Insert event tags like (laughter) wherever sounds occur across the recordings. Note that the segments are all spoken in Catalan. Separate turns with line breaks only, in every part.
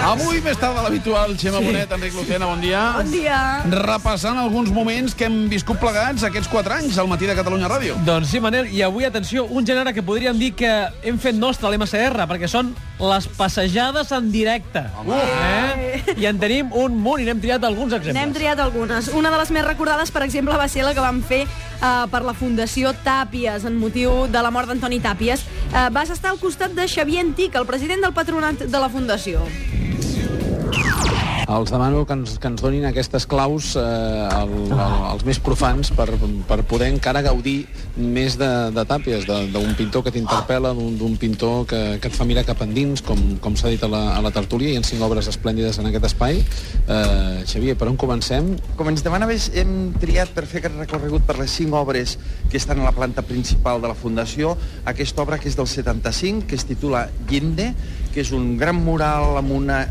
Avui, més tard de l'habitual, Xema Bonet, Enric Lucena, bon dia.
Bon dia.
Repassant alguns moments que hem viscut plegats aquests 4 anys al matí de Catalunya Ràdio.
Doncs sí, Manel, i avui, atenció, un gènere que podríem dir que hem fet nostre a l'MSR, perquè són les passejades en directe. Home. Eh? I en tenim un munt i n'hem triat alguns
N'hem
exemples.
triat algunes. Una de les més recordades, per exemple, va ser la que vam fer eh, per la Fundació Tàpies, en motiu de la mort d'Antoni Tàpies. Eh, vas estar al costat de Xavier Antic, el president del patronat de la Fundació.
Els demano que ens, que ens donin aquestes claus eh, al, al, als més profans per, per poder encara gaudir més de, de tàpies, de- d'un pintor que t'interpel·la, d'un d'un pintor que, que et fa mirar cap endins, com, com s'ha dit a la, a la tertúlia, hi ha cinc obres esplèndides en aquest espai. Eh, Xavier, per on comencem?
Com ens demanaves, hem triat per fer aquest recorregut per les cinc obres que estan a la planta principal de la Fundació. Aquesta obra que és del 75, que es titula Llindé, que és un gran mural amb una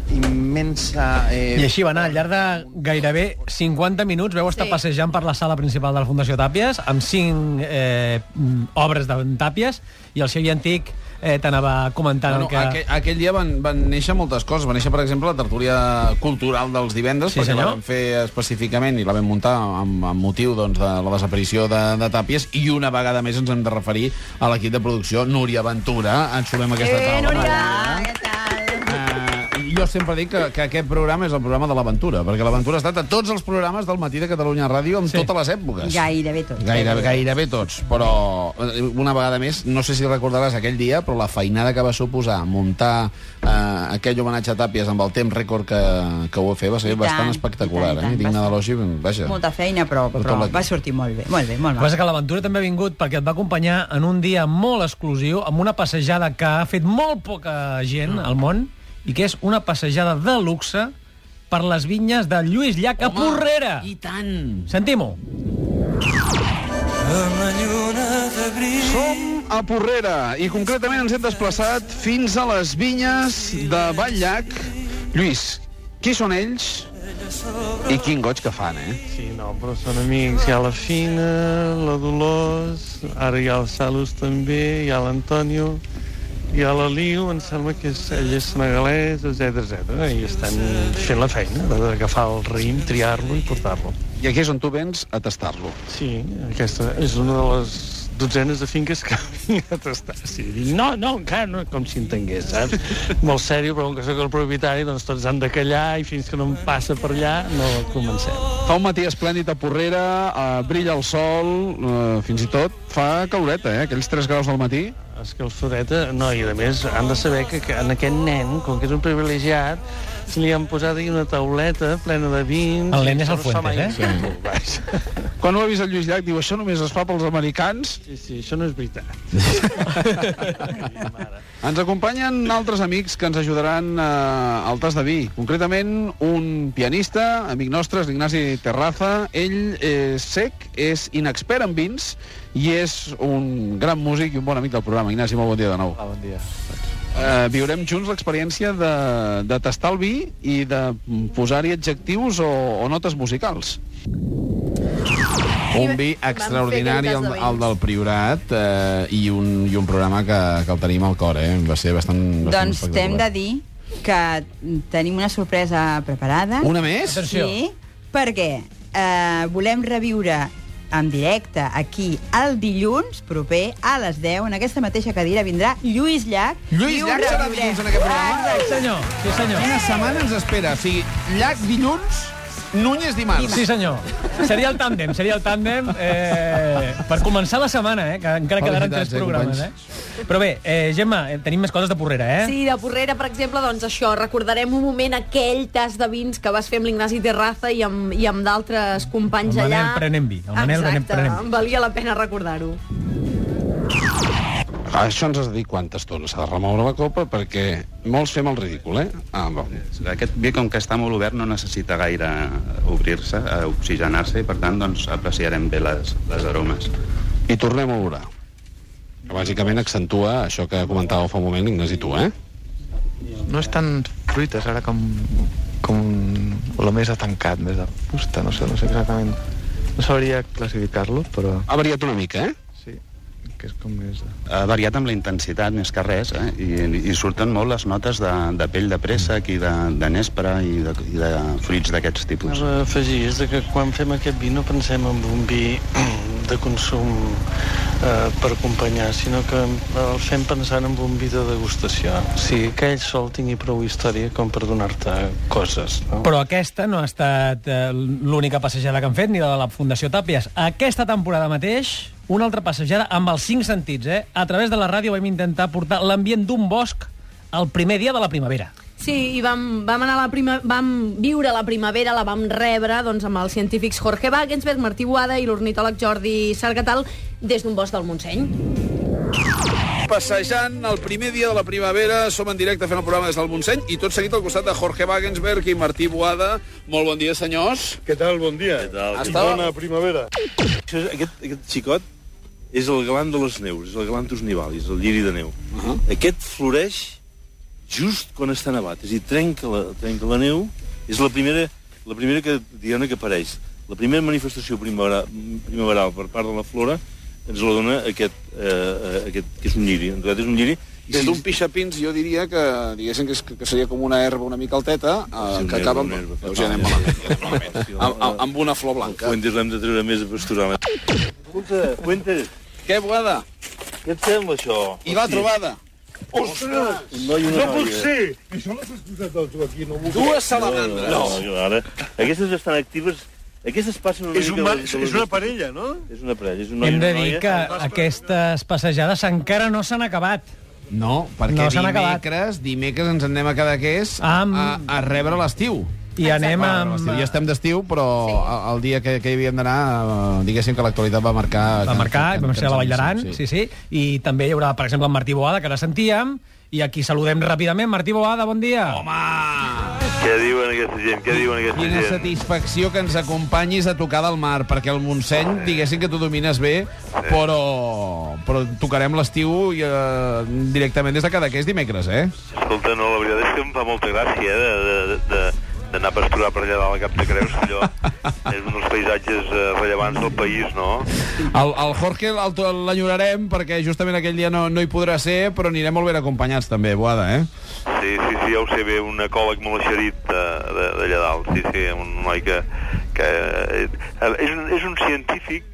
immensa...
I
Eh,
així va anar, al llarg de gairebé 50 minuts veu estar
Sí.
sí. passejant per la sala principal de la Fundació Tàpies amb cinc eh, mm, obres de Tàpies i el Xavier Antic eh, t'anava comentant
Bueno,
el que...
aquell, aquell dia van, van néixer moltes coses. Va néixer, per exemple, la tertúlia cultural dels divendres,
Sí,
perquè
senyor.
la vam fer específicament i la vam muntar amb, amb motiu doncs, de la desaparició de, de Tàpies, i una vegada més ens hem de referir a l'equip de producció Núria Ventura. Ens trobem aquesta
Eh,
taula.
Núria, què tal?
Eh, jo sempre dic que, que aquest programa és el programa de l'aventura, perquè l'aventura ha estat a tots els programes del matí de Catalunya Ràdio en sí. totes les èpoques.
Gairebé tot.
Gairebé, gairebé tots, però eh, una vegada més, no sé si recordaràs aquell dia, però la feinada que va suposar muntar eh, aquell homenatge a Tàpies amb el temps rècord que, que ho va fer va ser
I tant,
bastant
i
espectacular,
tant, i tant,
eh? Digna
bastant.
d'elogi, vaja.
Molta feina, però,
Tot
però
l'equip.
va sortir molt bé. Molt bé, molt
El que
mal.
passa que l'aventura també ha vingut perquè et va acompanyar en un dia molt exclusiu, amb una passejada que ha fet molt poca gent
Mm.
al món, i que és una passejada de luxe per les vinyes de Lluís Llach a Porrera.
I tant!
Sentim-ho.
Som a Porrera i concretament ens hem desplaçat fins a les vinyes de Valllac. Lluís, qui són ells i quin goig que fan, eh?
Sí, no, però són amics. Hi ha la Fina, la Dolors, ara hi ha el Salus també, hi ha l'Antonio, hi ha la Liu, em sembla que és, ell és senegalès, etc etc. I estan fent la feina d'agafar el raïm, triar-lo i portar-lo.
I aquí és on tu vens a tastar-lo.
Sí, aquesta és una de les dotzenes de finques que (laughs) vinc a tastar. Sí, dic, no, no, encara no, com si entengués, saps? Molt sèrio, però com que sóc el propietari, doncs tots han de callar i fins que no em passa per allà no comencem.
Fa un matí esplèndid a Porrera, eh, brilla el sol, eh, fins i tot fa caloreta, eh? Aquells 3 graus del matí.
És que el Sudeta, no, i a més han de saber que, que en aquest nen, com que és un privilegiat, se li han posat ahí una tauleta plena de vins...
El nen és el Fuentes, eh?
eh? Sí.
Quan ho ha vist el Lluís Llach, diu, això només es fa pels americans.
sí, sí, això no és veritat.
Ens acompanyen altres amics que ens ajudaran eh, al tas de vi. Concretament, un pianista, amic nostre, és l'Ignasi Terraza. Ell és sec, és inexpert en vins i és un gran músic i un bon amic del programa. Ignasi, molt bon dia de nou.
Hola, bon dia.
Eh, viurem junts l'experiència de, de tastar el vi i de posar-hi adjectius o, o notes musicals.
Un vi
Vam fer
extraordinari,
aquell
el,
tas de
el del Priorat, eh, i, un, i un programa que, que el tenim al cor, eh? Va ser bastant, bastant
Doncs t'hem de dir que tenim una sorpresa preparada.
Una més?
Atenció.
Sí, perquè eh, volem reviure en directe aquí el dilluns proper a les 10 en aquesta mateixa cadira vindrà Lluís Llach
Lluís
i ho
Llach serà
reviurem.
dilluns en aquest programa?
Exacte.
Senyor, sí senyor.
Quina setmana ens espera? O sigui, Llac dilluns, Núñez dimarts.
Sí senyor. Seria el tàndem, seria el tàndem eh, per començar la setmana, eh, que encara quedaran
Felicitats,
tres
eh,
programes. Eh? Però bé, eh, Gemma, eh, tenim més coses de Porrera, eh?
Sí, de Porrera, per exemple, doncs això, recordarem un moment aquell tas de vins que vas fer amb l'Ignasi Terraza i amb, i amb d'altres companys
El Manel
allà.
prenem vi, el Manel
Exacte,
prenem- prenem vi.
valia la pena recordar-ho.
A Això ens has de dir quanta estona s'ha de remoure la copa perquè molts fem el ridícul, eh? Ah, va.
Aquest vi, com que està molt obert, no necessita gaire obrir-se, eh, oxigenar-se, i per tant doncs, apreciarem bé les, les aromes.
I tornem a obrar. Que Bàsicament accentua això que comentava fa un moment Ignasi tu, eh?
No és tan fruites ara com, com lo més atancat, més de fusta, no sé, no sé exactament. No sabria classificar-lo, però
Ha variat una mica, eh?
sí. que és com més...
Ha variat amb la intensitat, més que res, eh? I, i surten molt les notes de, de pell de préssec i de, de nespra i de, i de fruits d'aquests tipus.
Anava a afegir és de que quan fem aquest vi no pensem en un vi (clears throat) de consum eh, per acompanyar, sinó que el fem pensant en un vi de degustació. O sigui, que ell sol tingui prou història com per donar-te coses. No?
Però aquesta no ha estat eh, l'única passejada que han fet, ni la de la Fundació Tàpies. Aquesta temporada mateix, una altra passejada amb els cinc sentits, eh? A través de la ràdio vam intentar portar l'ambient d'un bosc al primer dia de la primavera.
Sí, i vam, vam, anar a la prima, vam viure la primavera, la vam rebre doncs, amb els científics Jorge Wagensberg, Martí Guada i l'ornitòleg Jordi Sargatal des d'un bosc del Montseny.
Passejant el primer dia de la primavera, som en directe fent el programa des del Montseny i tot seguit al costat de Jorge Wagensberg i Martí Boada. Molt bon dia, senyors.
Què tal? Bon dia. Què tal?
Estava-
Bona primavera.
Això, és- aquest, aquest xicot és el galant de les neus, és el galantus nivalis, el lliri de neu. Uh -huh. Aquest floreix just quan està nevat, és a dir, trenca la, trenca la neu, és la primera, la primera que, diguem que apareix. La primera manifestació primavera, primaveral per part de la flora ens la dona aquest, eh, eh, aquest que és un lliri, en realitat és un lliri, i
Des
si-
d'un pixapins jo diria que diguéssim que, és, que seria com una herba una mica alteta eh,
Sí,
que
una
acaba amb,
herba, una herba.
Veus, ja anem malament, ja anem malament. Amb, amb- amb una flor blanca.
Fuentes l'hem de treure més a pasturar. eh? Escolta, Fuentes,
Què, Boada?
què et sembla això?
I va trobada.
Ostres!
Un noi i una
No puc
noia.
ser! I això l'has escoltat del tu aquí, no m'ho
Dues
No,
salamandres.
no, no, ara, aquestes estan actives... Aquestes passen una
És, un,
mica...
ma-
de-
és
de-
és una parella, no?
És una parella, és un noi i
Hem de
una
dir
noia.
que aquestes passejades encara no s'han acabat.
No, perquè
No,
no
s'han acabat.
dimecres, dimecres ens anem a Cadaqués
Amb-
a, a rebre l'estiu.
I anem
Bueno,
amb...
l'estiu. Ja estem d'estiu, però sí. el dia que, que hi havíem d'anar, eh, diguéssim que l'actualitat va marcar...
va marcar,
que-
vam
que
ser a la
ens
Vall d'Aran,
anem,
sí. sí, i també hi haurà, per exemple, en Martí Boada, que ara sentíem, i aquí saludem ràpidament. Martí Boada, bon dia. Home!
Què diuen aquesta gent? Què diuen aquesta
Quina
gent?
satisfacció que ens acompanyis a tocar del mar, perquè el Montseny, diguéssim que tu domines bé, però, però tocarem l'estiu i, eh, directament des de Cadaqués dimecres, eh?
Escolta, no, la veritat és que em fa molta gràcia eh, de- de- de- d'anar a pasturar per allà dalt a Cap de Creus,
(laughs)
allò és un dels paisatges eh, rellevants del país, no?
El, el Jorge el to- l'enyorarem perquè justament aquell dia no, no hi podrà ser, però anirem molt ben acompanyats també, Boada, eh?
Sí, sí, sí, ja ho sé bé, un ecòleg molt eixerit eh, de- d'allà dalt, sí, sí, un noi que... que eh, és, un, és un científic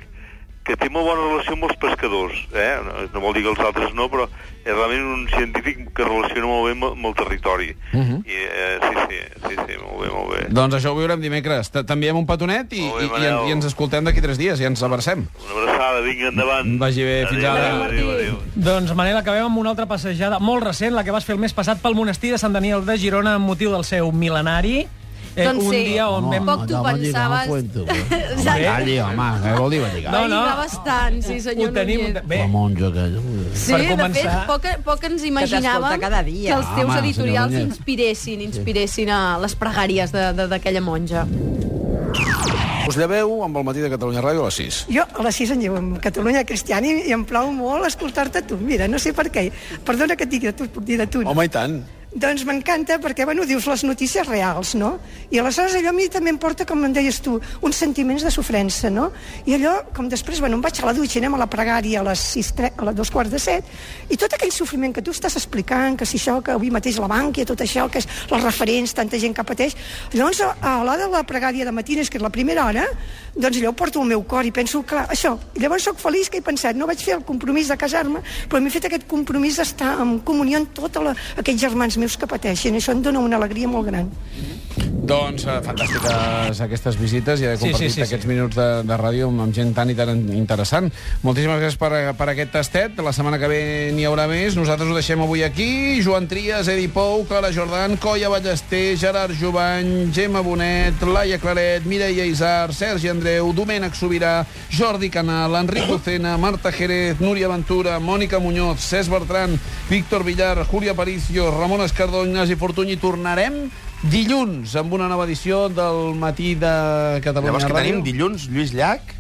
que té molt bona relació amb els pescadors, eh? No, no vol dir que els altres no, però és realment un científic que relaciona molt bé amb, amb el territori. Uh
Mhm.
-huh. I, eh, sí, sí, sí, sí, molt bé, molt bé.
Doncs això ho viurem dimecres. T- T'enviem un petonet i,
Molt
i,
bé,
i, en-
Manel.
i ens escoltem d'aquí tres dies i ens abracem.
Una abraçada, vinga, endavant.
Vagi bé, fins ara.
Adéu, adéu.
Doncs, Manel, acabem amb una altra passejada molt recent, la que vas fer el mes passat pel monestir de Sant Daniel de Girona amb motiu del seu mil·lenari. Eh,
Doncs
un
sí.
dia on vam...
Poc tu pensaves... Exacte.
Calli, home, què vol dir balligar?
No,
No, no.
no. bastant, sí, senyor
Ho tenim...
Núñez.
Bé,
monja aquella.
Sí,
Per
de fet,
començar-
poc, poc ens imaginàvem
t'escolta cada dia.
que els teus
Home, senyor
editorials
Núñez.
inspiressin, inspiressin a les pregàries de- de- d'aquella monja.
Us lleveu amb el matí de Catalunya Ràdio a les 6.
Jo a les 6 em llevo amb Catalunya Cristiana i, i em plau molt escoltar-te tu. Mira, no sé per què. Perdona que et digui de tu, et puc dir de tu. no?
Home, i tant.
Doncs m'encanta perquè, bueno, dius les notícies reals, no? I aleshores allò a mi també em porta, com em deies tu, uns sentiments de sofrença, no? I allò, com després, bueno, em vaig a la dutxa, anem a la pregària a les, sis, tre- a les dos quarts de set, i tot aquell sofriment que tu estàs explicant, que si això, que avui mateix la banca, tot això, que és les referents, tanta gent que pateix, llavors a, a l'hora de la pregària de matines, que és la primera hora, doncs allò ho porto al meu cor i penso, clar, això. I llavors sóc feliç que he pensat, no vaig fer el compromís de casar-me, però m'he fet aquest compromís d'estar en comunió amb tots aquests germans meus que pateixen. Això em dóna una alegria molt gran.
Doncs eh, fantàstiques aquestes visites i haver
Sí, sí,
compartit sí,
sí,
sí,
sí.
aquests minuts de, de ràdio amb, amb gent tan i tan interessant. Moltíssimes gràcies per, per aquest tastet. La setmana que ve n'hi haurà més. Nosaltres ho deixem avui aquí. Joan Trias, Edi Pou, Clara Jordan, Colla Ballester, Gerard Jovany, Gemma Bonet, Laia Claret, Mireia Isar, Sergi Andreu, Domènec Sobirà, Jordi Canal, Enric Lucena, Marta Jerez, Núria Ventura, Mònica Muñoz, Cesc Bertran, Víctor Villar, Júlia Paricio, Ramon Escardó, Ignasi Fortuny. Tornarem dilluns amb una nova edició del Matí de Catalunya
Llavors que
Ràdio.
tenim dilluns Lluís Llach,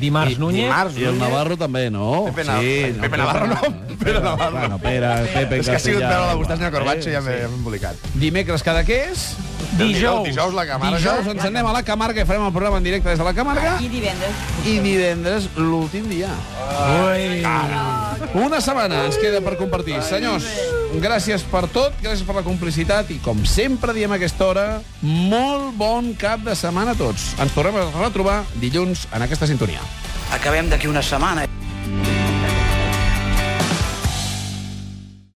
Dimarts Núñez.
Dimarts, I el Navarro també, no?
Pepe Nav- Pepe Navarro,
no. Pere Navarro. Bueno, Pere, Pepe
És que ha sigut veure la
Castellà.
Constància de Corbatxo i ja m'he
Sí,
m'he embolicat.
Dimecres cada què és?
Dijous. Dijous la Camarga.
Dijous ens anem a la Camarga i farem el programa en directe des de la Camarga.
Ah, I divendres.
I divendres, l'últim dia.
Ui.
Una setmana ens queda per compartir. Senyors, gràcies per tot, gràcies per la complicitat i, com sempre diem a aquesta hora, molt bon cap de setmana a tots. Ens tornem a retrobar dilluns en aquesta sintonia.
Acabem d'aquí una setmana.